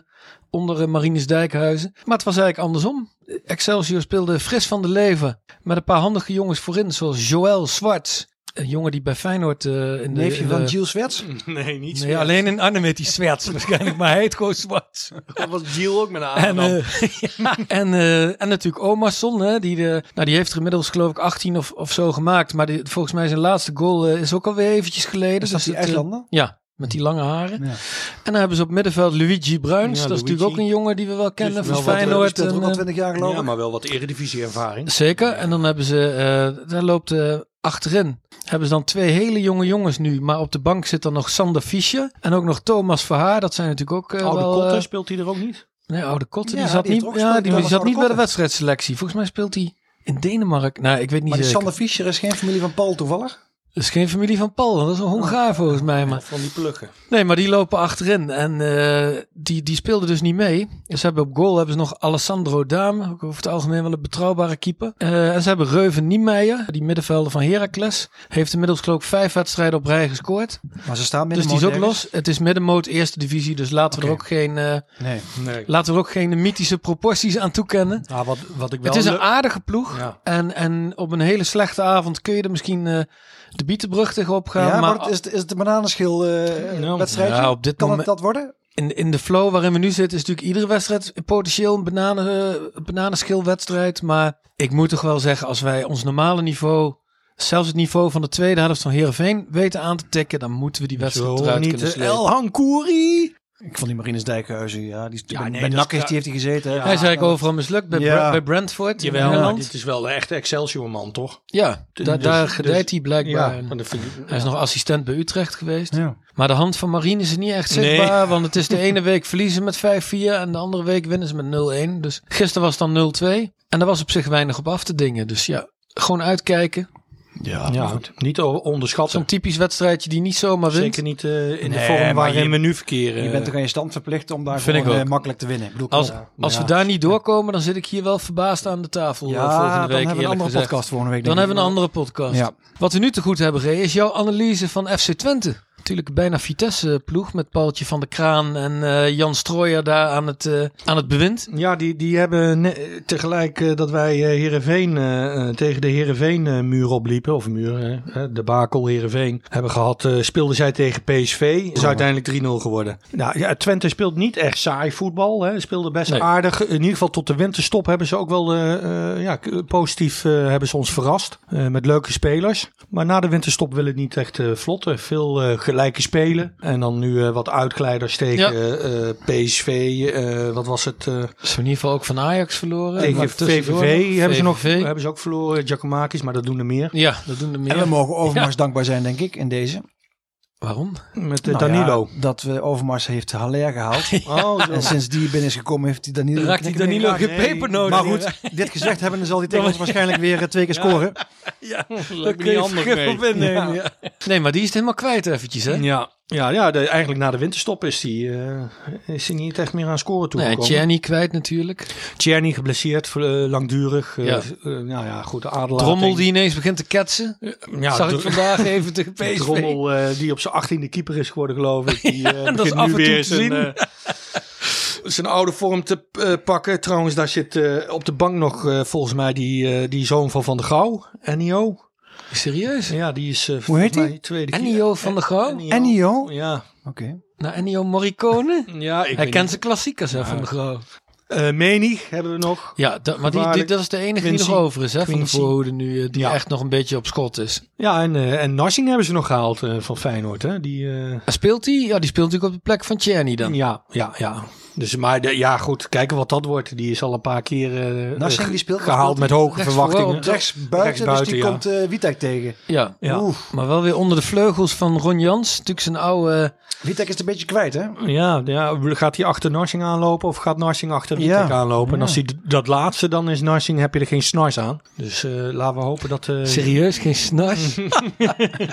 onder eh, Marinus Dijkhuizen. Maar het was eigenlijk andersom. Excelsior speelde fris van de leven. Met een paar handige jongens voorin, zoals Joël Zwarts. Een jongen die bij Feyenoord eh in de... Neefje in van de- Gilles Wertz. nee, niet Nee, alleen in Arnhem heet hij Zwarts waarschijnlijk, maar hij heet gewoon Zwarts. was Giel ook met een En, eh, ja, en, eh, en natuurlijk Omarsson, hè, die, de, nou, die heeft er inmiddels geloof ik 18 of, of zo gemaakt. Maar die, volgens mij zijn laatste goal eh, is ook alweer eventjes geleden. Is dat die het, eh, IJslander? ja, met die lange haren. Ja. En dan hebben ze op middenveld Luigi Bruins. Ja, dat is Luigi. natuurlijk ook een jongen die we wel kennen wel van wat, eh, Feyenoord. Speelt er ook en, al eh, 20 jaar geloof ik. Ja, maar wel wat eredivisie-ervaring. Zeker. En dan hebben ze, eh, daar loopt eh, achterin, hebben ze dan twee hele jonge jongens nu. Maar op de bank zit dan nog Sander Fischer en ook nog Thomas Verhaar. Dat zijn natuurlijk ook eh, Oude wel... Kotter eh, speelt hij er ook niet? Nee, Oude Kotten, Ja, die zat die heeft niet, er ook ja, gespeeld, die, die zat Thomas niet bij de Oude wedstrijdselectie. Volgens mij speelt hij in Denemarken. Nou, ik weet niet Maar die zeker. Sander Fischer is geen familie van Paul toevallig. Dat is geen familie van Paul, dat is een Oh. Hongaar volgens mij. Maar. Van die pluggen. Nee, maar die lopen achterin en eh, die, die speelden dus niet mee. Ze hebben op goal hebben ze nog Alessandro Dame, ook over het algemeen wel een betrouwbare keeper. Eh, en ze hebben Reuven Niemeyer, die middenvelder van Heracles. Heeft inmiddels geloof ik vijf wedstrijden op rij gescoord. Maar ze staan Dus binnen die is ook los. Het is middenmoot eerste divisie, dus laten we er ook geen, eh, Nee. Nee. laten we er ook geen mythische proporties aan toekennen. Nou, wat, wat ik wel Het is een leuk- aardige ploeg. Ja. En, en op een hele slechte avond kun je er misschien eh, de bietenbrug tegenop gaan. Ja, maar wordt het- is, het, is het de bananenschil eh Nou, wedstrijdje? ja, op dit kan moment- het dat worden? in, in de flow waarin we nu zitten is natuurlijk iedere wedstrijd potentieel een bananen, eh, bananenschilwedstrijd. Maar ik moet toch wel zeggen, als wij ons normale niveau, zelfs het niveau van de tweede helft van Heerenveen, weten aan te tikken, dan moeten we die wedstrijd Zo eruit niet kunnen de slepen. El Hankouri. Ik vond die Marinus Dijkhuizen, ja. Die, Ja, bij nee, bij dat NAC is- heeft, die heeft hij gezeten. hè? Hij is eigenlijk overal mislukt bij, Ja. Bra- bij Brentford in Jawel, maar Engeland. dit is wel de echte Excelsior-man, toch? Ja, da- Dus- daar dus- gedijt hij blijkbaar. maar dat vind ik- Hij is nog assistent bij Utrecht geweest. Ja. Maar de hand van Marien is er niet echt zichtbaar. Want het is de ene week verliezen met 5-4 en de andere week winnen ze met 0-1. Dus gisteren was het dan 0-2. En daar was op zich weinig op af te dingen. Dus ja, gewoon uitkijken. Ja. Ja, goed. niet o- onderschatten. Zo'n typisch wedstrijdje die niet zomaar wint. Zeker niet eh, in de Nee, vorm maar waarin we je- nu verkeren. Je bent toch geen stand verplicht om daar Vind ik gewoon, eh, ook. makkelijk te winnen. Ik bedoel, Als, kom op. als we Ja. daar niet doorkomen, dan zit ik hier wel verbaasd aan de tafel eh, ja, volgende week. dan hebben we een eerlijk andere gezegd. podcast volgende week. Dan denk hebben we ik. een andere podcast. Ja. Wat we nu te goed hebben, Ray, is jouw analyse van FC Twente. Natuurlijk bijna Vitesse-ploeg met Paaltje van de Kraan en eh, Jan Strooijer daar aan het, eh, aan het bewind. Ja, die, die hebben ne- tegelijk eh, dat wij eh, Heerenveen eh, eh, tegen de Heerenveen eh, muur opliepen, of muur, eh, eh, de bakel Heerenveen, hebben gehad, eh, speelden zij tegen PSV. Is uiteindelijk 3-0 geworden. Nou ja, Twente speelt niet echt saai voetbal, hè. speelde best Nee. aardig. In ieder geval tot de winterstop hebben ze ook wel eh, eh, ja, k- positief eh, hebben ze ons verrast, eh, met leuke spelers. Maar na de winterstop wil het niet echt eh vlot. Eh, Veel eh, gelijke spelen en dan nu eh, wat uitglijders tegen eh, eh, PSV, eh, wat was het... eh, Ze hebben in ieder geval ook van Ajax verloren. En tegen wat tussendoor VVV hebben ze, nog, VVV. hebben ze ook verloren. Giacomakis, maar dat doen er meer. Ja, dat doen er meer. En we mogen Overmars dankbaar zijn, denk ik, in deze. Waarom? Met eh, Nou ja, Danilo. dat we Overmars heeft Haller gehaald. Oh, En sinds die binnen is gekomen heeft hij Danilo... Raakt hij Danilo geraakt. gepepernoderd. Maar goed, dit gezegd hebben, dan zal hij tegen ons waarschijnlijk weer eh, twee keer scoren. Dat kun je anders Ja. Nee, maar die is het helemaal kwijt eventjes, hè? Ja, ja, ja de- eigenlijk na de winterstop is hij eh, is hij niet echt meer aan scoren Nee, en toegekomen. Tjerni kwijt natuurlijk. Tjerni geblesseerd, eh, langdurig. eh, Ja. eh, nou ja, goed, adelaar. Drommel die ineens begint te ketsen. ja, Zag Dr- ik vandaag even tegen PSV. Drommel eh, die op zijn achttiende keeper is geworden, geloof ik. Die, eh, dat is begint af nu en toe weer te zijn, zien. eh, zijn oude vorm te eh, pakken. Trouwens, daar zit eh, op de bank nog eh, volgens mij die, eh, die zoon van Van der Gouw, Ennio. Serieus? Ja, die is. eh, Hoe heet volgens mij die? Tweede Ennio van der Gouw? Ennio. Ennio? Oké. Ja, Nou, Ennio Morricone? ja Hij ik weet kent niet. zijn klassiekers, hè, van de Gro. Eh, Menig hebben we nog. Ja, dat, maar die, die- dat is de enige die Quincy. nog over is, hè, van de Quincy. voorhoede nu, eh, die Ja. echt nog een beetje op schot is. Ja, en, eh en Narsing hebben ze nog gehaald eh, van Feyenoord. Hè? Die, eh, En speelt die? Ja, die speelt natuurlijk op de plek van Tjerni dan. ja, ja, ja. Dus, maar de- ja, goed, kijken wat dat wordt. Die is al een paar keer eh, Narsing, eh, die Nou, speelt- gehaald speelt met hoge rechts voorop, verwachtingen. Rechts buiten, dus Rechtsbuiten, die ja. komt eh Witek tegen. Ja. Ja. Oeh, Maar wel weer onder de vleugels van Ron Jans. Natuurlijk zijn oude... Witek is het een beetje kwijt, hè? Ja, ja, gaat hij achter Narsing aanlopen of gaat Narsing achter Wittek Ja. aanlopen? En Ja. als hij d- dat laatste dan is Narsing, heb je er geen snars aan. Dus eh, laten we hopen dat... eh, Serieus, geen snars.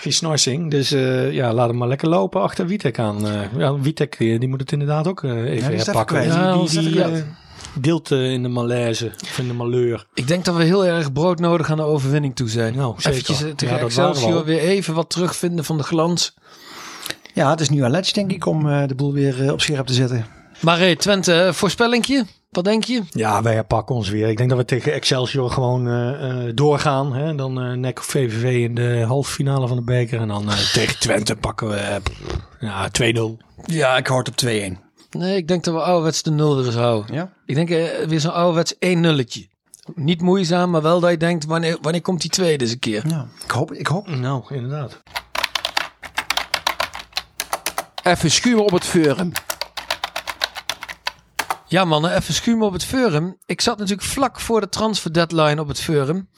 Geen snarsing. Dus eh, ja, laat hem maar lekker lopen achter Witek aan. eh. ja, Witek die, die moet het inderdaad ook eh, even die is even herpakken. kwijt. Ja, die die is die, even die, kwijt. eh, deelt eh, in de malaise of in de malheur. Ik denk dat we heel erg broodnodig aan de overwinning toe zijn. Nou, zeker. Eventjes eh, tegen Ja, dat waren we Excelsior al. weer even wat terugvinden van de glans. Ja, het is nu aan Letch, denk ik, om eh, de boel weer eh, op scherp te zetten. Maar hey, Twente, eh, voorspellingje? Wat denk je? Ja, wij herpakken ons weer. Ik denk dat we tegen Excelsior gewoon eh, eh, doorgaan. Hè? Dan eh nek of VVV in de halve finale van de beker. En dan eh, tegen Twente pakken we eh, pff, ja, 2-0. Ja, ik hoor het op 2-1. Nee, ik denk dat we ouderwets de nul er eens houden. Ja? Ik denk eh, weer zo'n ouderwets 1 nulletje. Niet moeizaam, maar wel dat je denkt, wanneer, wanneer komt die tweede eens een keer? Ja, ik hoop, ik hoop. Nou, inderdaad. Even schuimen op het veuren. Ja mannen, even schuim op het forum. Ik zat natuurlijk vlak voor de transfer deadline op het forum.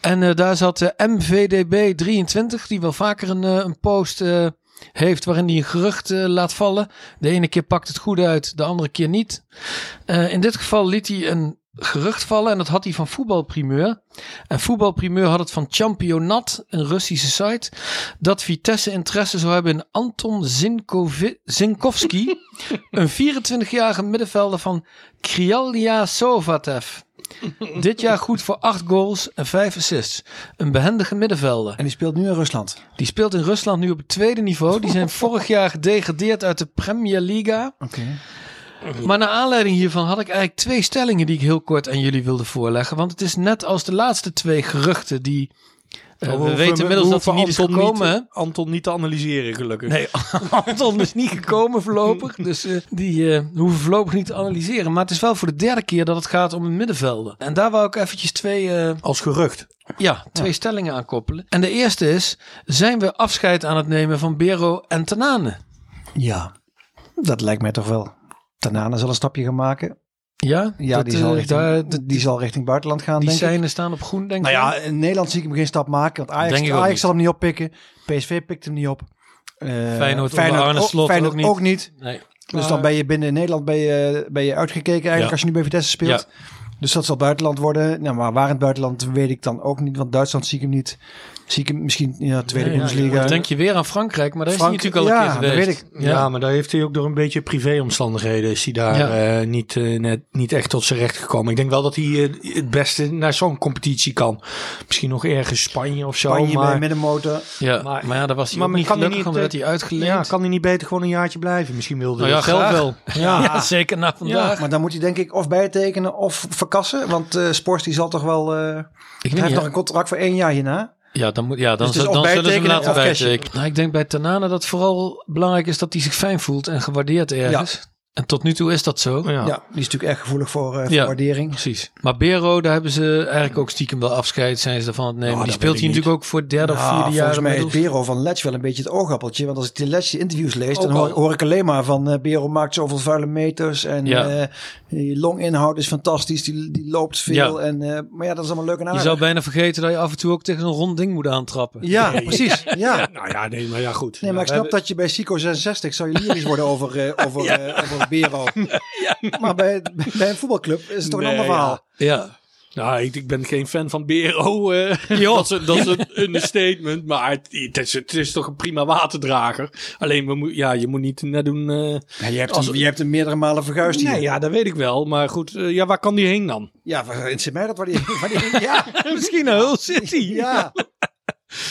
En eh, daar zat eh, MVDB23, die wel vaker een, eh, een post eh, heeft waarin hij een gerucht eh, laat vallen. De ene keer pakt het goed uit, de andere keer niet. Eh, in dit geval liet hij een gerucht vallen en dat had hij van voetbalprimeur. En voetbalprimeur had het van Championat, een Russische site, dat Vitesse interesse zou hebben in Anton Zinkovi- Zinkovski, een 24-jarige middenvelder van Krialia Sovatev. Dit jaar goed voor 8 goals en 5 assists. Een behendige middenvelder. En die speelt nu in Rusland. Die speelt in Rusland nu op het tweede niveau. Die zijn vorig jaar gedegradeerd uit de Premier Liga. Oké. Maar naar aanleiding hiervan had ik eigenlijk twee stellingen die ik heel kort aan jullie wilde voorleggen. Want het is net als de laatste twee geruchten die... eh, we, weten inmiddels dat hij niet is gekomen. hè? Anton niet te analyseren, gelukkig. Nee, Anton is niet gekomen voorlopig. Dus eh, die eh, hoeven voorlopig niet te analyseren. Maar het is wel voor de derde keer dat het gaat om een middenvelder. En daar wou ik eventjes twee, eh, Als gerucht. ja, twee stellingen aan koppelen. En de eerste is, zijn we afscheid aan het nemen van Bero en Tanane? Ja, dat lijkt mij toch wel. Tanane zal een stapje gaan maken. Ja, Ja, Dat, die, zal eh, richting, daar- dat- die zal richting buitenland gaan, die denk ik. seinen staan op groen, denk Nou ik. ja, in Nederland zie ik hem geen stap maken. Want Ajax, Denk ik ook Ajax niet. zal hem niet oppikken. PSV pikt hem niet op. Eh, Feyenoord onder Arne Slot Feyenoord ook niet. ook niet. Nee. Dus dan ben je binnen Nederland ben je, ben je uitgekeken eigenlijk Ja. als je nu bij Vitesse speelt. Dus dat zal buitenland worden. Nou, maar waar in het buitenland weet ik dan ook niet. Want Duitsland zie ik hem niet. Zie ik hem misschien ja, tweede Ja, Bundesliga. dan denk je weer aan Frankrijk, maar daar Frank- is hij natuurlijk al een ja, keer geweest. dat weet Ja. maar daar heeft hij ook door een beetje privéomstandigheden is hij daar Ja. eh, niet, eh, net, niet echt tot zijn recht gekomen. Ik denk wel dat hij eh, het beste naar zo'n competitie kan. Misschien nog ergens Spanje of zo. Spanje maar, bij met een motor. Ja, maar, Maar- ja, daar was hij maar ook men niet kan die gelukkig, niet, omdat eh, hij uitgeleend. ja, kan hij niet beter gewoon een jaartje blijven? Misschien wilde Nou ja, hij het zelf graag. wel. Ja. Ja, zeker na vandaag. Maar dan moet hij denk ik of bijtekenen of verkassen. Want eh Spors die zal toch wel... eh, ik hij weet heeft niet, nog een contract voor één jaar hierna. ja, dan, moet, ja, dan, Dus het is zul- of dan zullen ze hem bijtekenen laten of cashen. bijtekenen. Nou, ik denk bij Tanane dat vooral belangrijk is dat hij zich fijn voelt en gewaardeerd ergens. En tot nu toe is dat zo. Ja. die is natuurlijk erg gevoelig voor, eh, voor Ja. waardering. Precies. Maar Bero, daar hebben ze eigenlijk ook stiekem wel afscheid zijn ze ervan aan het Oh, nemen. Nou, die dat speelt hij weet ik natuurlijk ook voor het derde of Nou, vierde jaar. volgens mij is inmiddels. Bero van Letch wel een beetje het oogappeltje. Want als ik die Letch die interviews lees, dan Ook hoor, al. hoor ik alleen maar van eh, Bero maakt zoveel vuile meters. En Ja. eh, die longinhoud is fantastisch. Die, die loopt veel. Ja. En, eh, maar ja, dat is allemaal leuk en Je aardig. zou bijna vergeten dat je af en toe ook tegen een rond ding moet aantrappen. Ja, precies. Ja. Nou ja, nee, maar ja, eh, goed. Nee, maar ik snap dat je bij Sico 66 zou je lyrisch worden over, eh, over, eh, over Bero. Maar bij, bij een voetbalclub is het toch een Nee, ander verhaal. Ja. Nou, ik, ik ben geen fan van Bero. eh. dat, is, dat is een understatement. Maar het, het is, het is toch een prima waterdrager. Alleen, we moet, ja, je moet niet net doen... eh, Ja, je, hebt Als- hem, je hebt hem meerdere malen verguisd hier. nee, ja, dat weet ik wel. Maar goed, eh, ja, waar kan die heen dan? Ja, waar- in sint dat waar die, waar die- Ja, Misschien een Hull City. ja.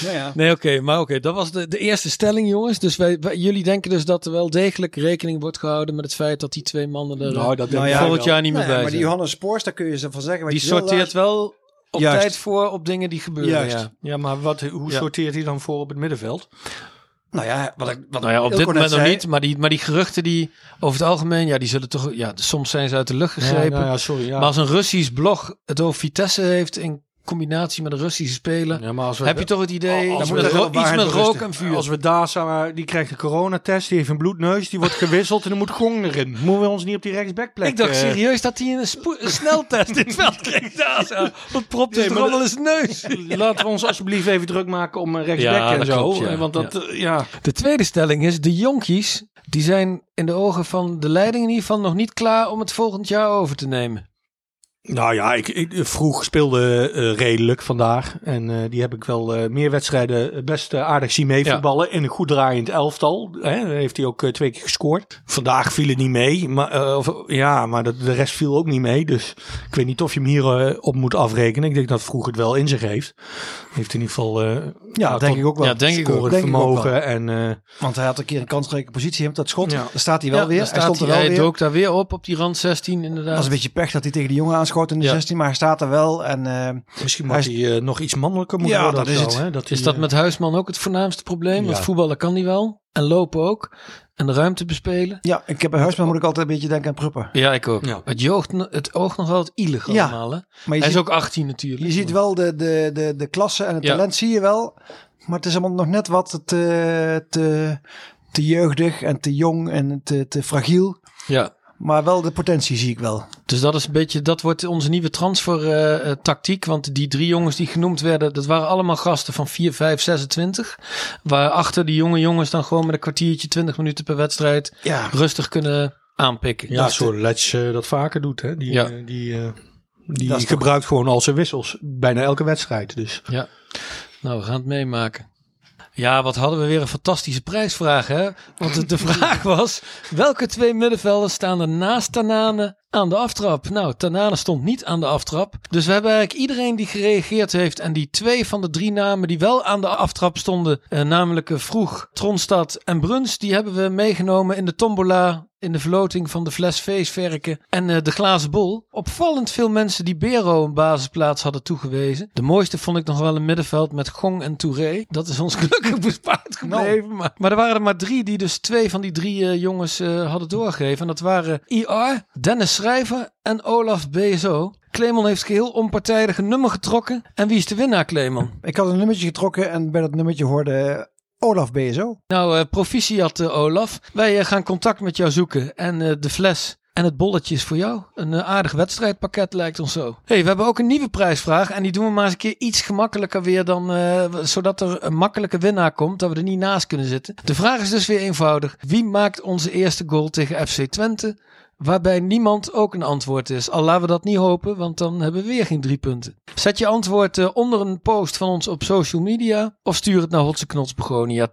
Nou ja. Nee, oké, maar oké, dat was de, de eerste stelling, jongens. Dus wij, wij- jullie denken dus dat er wel degelijk rekening wordt gehouden met het feit dat die twee mannen er eh, dat nou ja, volgend jaar niet meer Nou ja, bij maar die zijn. Johannes Spoors, daar kun je ze van zeggen. Wat Die je wil, sorteert Lars. wel op Juist. tijd voor op dingen die gebeuren. Juist. Ja. Ja, maar wat, hoe Ja. sorteert hij dan voor op het middenveld? Nou ja, wat ik, wat Nou ja, op Ilko dit net moment nog zei, niet, maar die, maar die geruchten die over het algemeen, ja, die zullen toch, ja, soms zijn ze uit de lucht gegrepen. nou ja, sorry. Ja. Maar als een Russisch blog het over Vitesse heeft in combinatie met een Russische speler, Ja, maar als we, heb je toch het idee als iets we met, daar ro- wel iets waarheid met rook berusten. en vuur? als we Daza, die krijgt een coronatest, die heeft een bloedneus, die wordt gewisseld en dan moet Gong erin. Moeten we ons niet op die rechtsbackplek... Ik dacht eh, serieus dat hij een, spo- een sneltest in het veld kreeg. Daza. Wat propt hij Nee, toch maar allemaal in zijn neus? Laten we ons alsjeblieft even druk maken om eh, rechtsback Ja, en dat zo. klopt, ja. eh, Want dat, eh, ja. De tweede stelling is, de jonkies die zijn in de ogen van de leiding in ieder geval nog niet klaar om het volgend jaar over te nemen. Nou ja, ik, ik vroeg speelde eh, redelijk vandaag. En eh, die heb ik wel eh, meer wedstrijden best eh, aardig zien meevoetballen. In een goed draaiend elftal. Hè, heeft hij ook eh, twee keer gescoord. Vandaag viel het niet mee. Maar, eh, of, ja, maar dat, de rest viel ook niet mee. Dus ik weet niet of je hem hier eh, op moet afrekenen. Ik denk dat vroeg het wel in zich heeft. Heeft in ieder geval... eh Ja, denk ik ook wel. ja, denk ik ook. scorend Denk ik ook wel. vermogen. En, eh, Want hij had een keer een kansrijke positie, hem dat schot. Ja. Daar staat hij wel Ja, weer. daar Hij staat stond er wel hij weer. dook daar weer op, op die rand 16 Dat was inderdaad. een beetje pech dat hij tegen die jongen aanschoot in de Ja. 16, maar hij staat er wel. En eh, misschien Hij moet is- hij eh, nog iets mannelijker moeten Ja, worden. dat of is zo, het. Hè? Dat Is hij, dat eh, met Huisman ook het voornaamste probleem? Want Ja. voetballen kan hij wel. En lopen ook. En de ruimte bespelen. ja, ik heb bij Huisman moet ik altijd een beetje denken aan Pruppen. Ja, ik ook. Ja. Het, joogt, het oog nog wel het ielig Ja. allemaal. Hè? Maar je, Hij is ziet, ook 18 natuurlijk. je ziet wel de, de, de, de klasse en het Ja. talent zie je wel. Maar het is allemaal nog net wat te, te, te jeugdig en te jong en te, te fragiel. Ja. Maar wel de potentie zie ik wel. Dus dat is een beetje, dat wordt onze nieuwe transfertactiek. want die drie jongens die genoemd werden, dat waren allemaal gasten van 4, 5, 26. Waarachter die jonge jongens dan gewoon met een kwartiertje, 20 minuten per wedstrijd Ja, rustig kunnen aanpikken. Ja, zo'n Letch eh, dat vaker doet. Hè? Die, Ja. eh, die, eh, die Dat is toch- gebruikt gewoon al zijn wissels. Bijna elke wedstrijd. Dus. Nou, we gaan het meemaken. Ja, wat hadden we weer een fantastische prijsvraag, hè? Want de- de vraag was, welke twee middenvelders staan er naast Tanane aan de aftrap? Nou, Tanane stond niet aan de aftrap. Dus we hebben eigenlijk iedereen die gereageerd heeft en die twee van de drie namen die wel aan de aftrap stonden, eh, namelijk eh, Vroeg, Tronstad en Bruns, die hebben we meegenomen in de tombola in de verloting van de fles feestverken en eh, de glazen bol. Opvallend veel mensen die Bero een basisplaats hadden toegewezen. De mooiste vond ik nog wel een middenveld met Gong en Touré. Dat is ons gelukkig bespaard gebleven. Maar, maar er waren er maar drie die dus twee van die drie eh, jongens eh, hadden doorgegeven. En dat waren IR, Dennis Schrijver en Olaf BSO. Clemon heeft geheel onpartijdig een nummer getrokken. En wie is de winnaar, Clemon? ik had een nummertje getrokken en bij dat nummertje hoorde Olaf BSO. Nou, eh proficiat eh, Olaf. Wij eh, gaan contact met jou zoeken. En eh, de fles en het bolletje is voor jou. Een eh, aardig wedstrijdpakket lijkt ons zo. hey, we hebben ook een nieuwe prijsvraag. En die doen we maar eens een keer iets gemakkelijker weer dan... eh, w- zodat er een makkelijke winnaar komt. Dat we er niet naast kunnen zitten. De vraag is dus weer eenvoudig. Wie maakt onze eerste goal tegen FC Twente? Waarbij niemand ook een antwoord is. Al laten we dat niet hopen, want dan hebben we weer geen drie punten. Zet je antwoord eh, onder een post van ons op social media. Of stuur het naar hotseknotsbegonia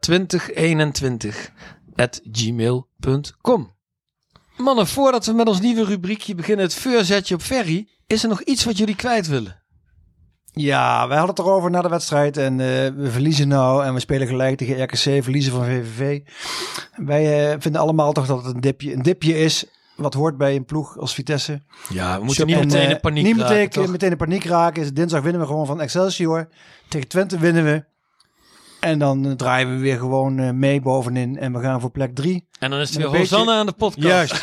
2021 at gmail.com. Mannen, voordat we met ons nieuwe rubriekje beginnen, het veurzetje op Ferry. Is er nog iets wat jullie kwijt willen? Ja, wij hadden het erover na de wedstrijd. En eh, we verliezen nou. En we spelen gelijk tegen RKC. Verliezen van VVV. Wij eh, vinden allemaal toch dat het een dipje, een dipje is. Wat hoort bij een ploeg als Vitesse. Ja, we En, eh, niet meteen, meteen in paniek raken. Is, dinsdag winnen we gewoon van Excelsior. Tegen Twente winnen we. En dan eh, draaien we weer gewoon eh, mee bovenin. En we gaan voor plek drie. En dan is het Met weer een beetje- Hosanna aan de podcast. Juist.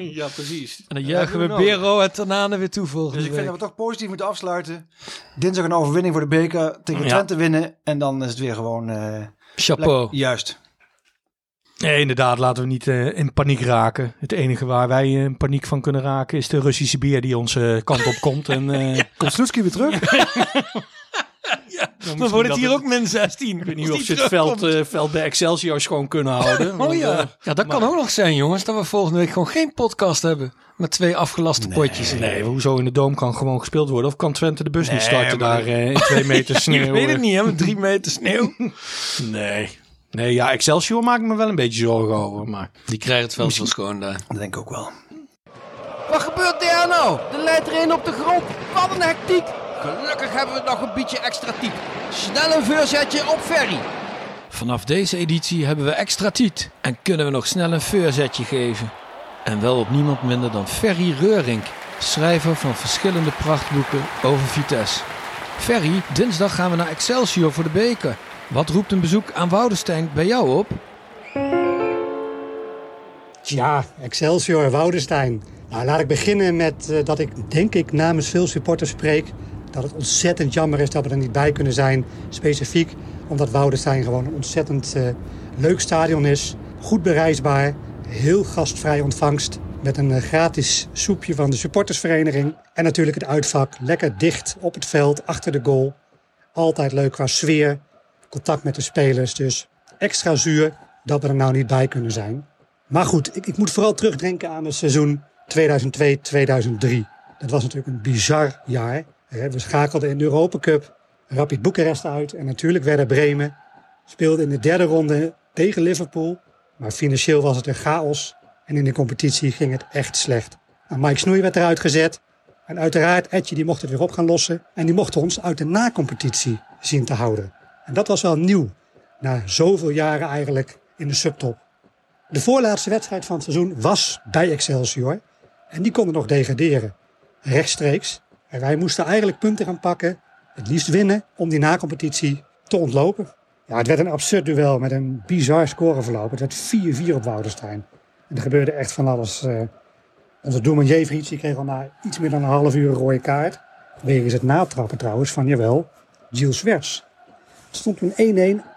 ja, precies. En dan hebben juichen we we nodig. Bero en Tanane weer toe volgende Dus ik vind week. dat we toch positief moeten afsluiten. Dinsdag een overwinning voor de beker. Tegen Ja. Twente winnen. En dan is het weer gewoon... eh, plek- Chapeau. Juist. Nee, inderdaad, laten we niet eh, in paniek raken. Het enige waar wij eh, in paniek van kunnen raken is de Russische beer die onze kant op komt. En, eh, Komt Sloetski weer terug? Dan wordt het hier ook min 16. Ik weet niet of ze het veld, eh, veld bij Excelsior schoon kunnen houden. Oh want, ja. eh, Ja, dat kan ook nog zijn, jongens. Dat we volgende week gewoon geen podcast hebben. Met twee afgelaste potjes. in. nee, hoezo in de Doom kan gewoon gespeeld worden? Of kan Twente de bus niet Nee, starten maar- daar eh, in twee meter sneeuw? Ik weet eh? het niet, hè? Met drie meter sneeuw. Nee. Nee, ja, Excelsior maakt me wel een beetje zorgen over. Maar Die krijgen het veld wel schoon daar. Dat denk ik ook wel. Wat gebeurt daar nou? Er leidt er een op de grond. Wat een hectiek. Gelukkig hebben we nog een beetje extra typ. Snel een veurzetje op Ferry. Vanaf deze editie hebben we extra tiet. En kunnen we nog snel een veurzetje geven. En wel op niemand minder dan Ferry Reurink. Schrijver van verschillende prachtboeken over Vitesse. Ferry, dinsdag gaan we naar Excelsior voor de beker. Wat roept een bezoek aan Woudenstein bij jou op? Ja, Excelsior, Woudenstein. Nou, laat ik beginnen met eh, dat ik, denk ik, namens veel supporters spreek... dat het ontzettend jammer is dat we er niet bij kunnen zijn. Specifiek omdat Woudenstein gewoon een ontzettend eh, leuk stadion is. Goed bereisbaar, heel gastvrij ontvangst... met een eh, gratis soepje van de supportersvereniging. En natuurlijk het uitvak, lekker dicht op het veld, achter de goal. Altijd leuk qua sfeer, contact met de spelers. Dus extra zuur dat we er nou niet bij kunnen zijn. Maar goed, ik, ik moet vooral terugdenken aan het seizoen 2002-2003. Dat was natuurlijk een bizar jaar. hè. We schakelden in de Europa Cup Rapid Boekarest uit. En natuurlijk Werder Bremen speelde in de derde ronde tegen Liverpool. Maar financieel was het een chaos. En in de competitie ging het echt slecht. Nou, Mike Snoei werd eruit gezet. En uiteraard, Edje die mocht het weer op gaan lossen. En die mocht ons uit de nacompetitie zien te houden. En dat was wel nieuw. Na zoveel jaren eigenlijk in de subtop. De voorlaatste wedstrijd van het seizoen was bij Excelsior. En die konden nog degraderen. Rechtstreeks. En wij moesten eigenlijk punten gaan pakken. Het liefst winnen om die nacompetitie te ontlopen. Ja, het werd een absurd duel met een bizar scoreverloop. Het werd 4-4 op Woudenstein. En er gebeurde echt van alles. eh. onze doelman Jevriets die kreeg al na iets meer dan een half uur een rode kaart. Wegens het natrappen trouwens van, jawel, Gilles Wers. Het stond toen 1-1. En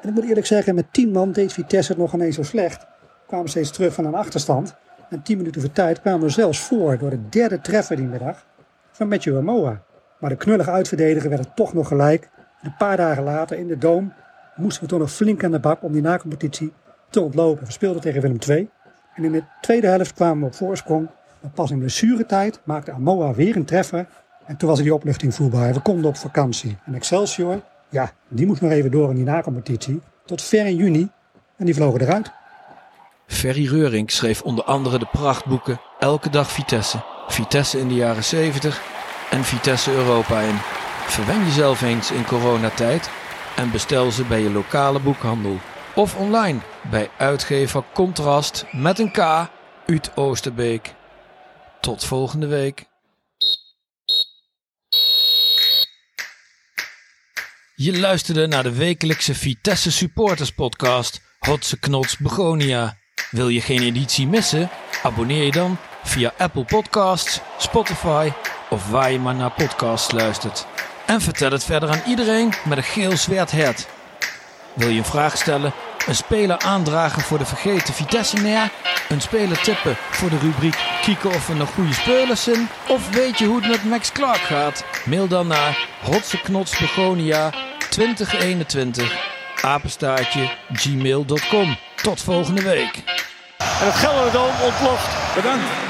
ik moet eerlijk zeggen, met 10 man deed Vitesse het nog ineens zo slecht. We kwamen steeds terug van een achterstand. En 10 minuten voor tijd kwamen we zelfs voor door de derde treffer die middag van Matthew Amoa. Maar de knullige uitverdediger werd het toch nog gelijk. En een paar dagen later in de Doom moesten we toch nog flink aan de bak om die nacompetitie te ontlopen. We speelden tegen Willem II. En in de tweede helft kwamen we op voorsprong. Maar pas in blessuretijd maakte Amoa weer een treffer. En toen was er die opluchting voelbaar. We konden op vakantie. En Excelsior, ja, die moest nog even door in die nacompetitie. Tot ver in juni. En die vlogen eruit. Ferry Reurink schreef onder andere de prachtboeken Elke dag Vitesse, Vitesse in de jaren 70 en Vitesse Europa in. Verwen jezelf eens in coronatijd en bestel ze bij je lokale boekhandel of online bij uitgever Contrast met een K uit Oosterbeek. Tot volgende week. Je luisterde naar de wekelijkse Vitesse Supporters Podcast Hotse Knots Begonia. Wil je geen editie missen? Abonneer je dan via Apple Podcasts, Spotify of waar je maar naar podcasts luistert. En vertel het verder aan iedereen met een geel zwart hert. Wil je een vraag stellen? Een speler aandragen voor de vergeten Vitesse-neer? Een speler tippen voor de rubriek kieken of er nog goede spelers zijn? Of weet je hoe het met Max Clark gaat? Mail dan naar hotseknotsbegonia 2021 apenstaartje gmail.com. Tot volgende week. En het Gelderdoom ontploft. Bedankt.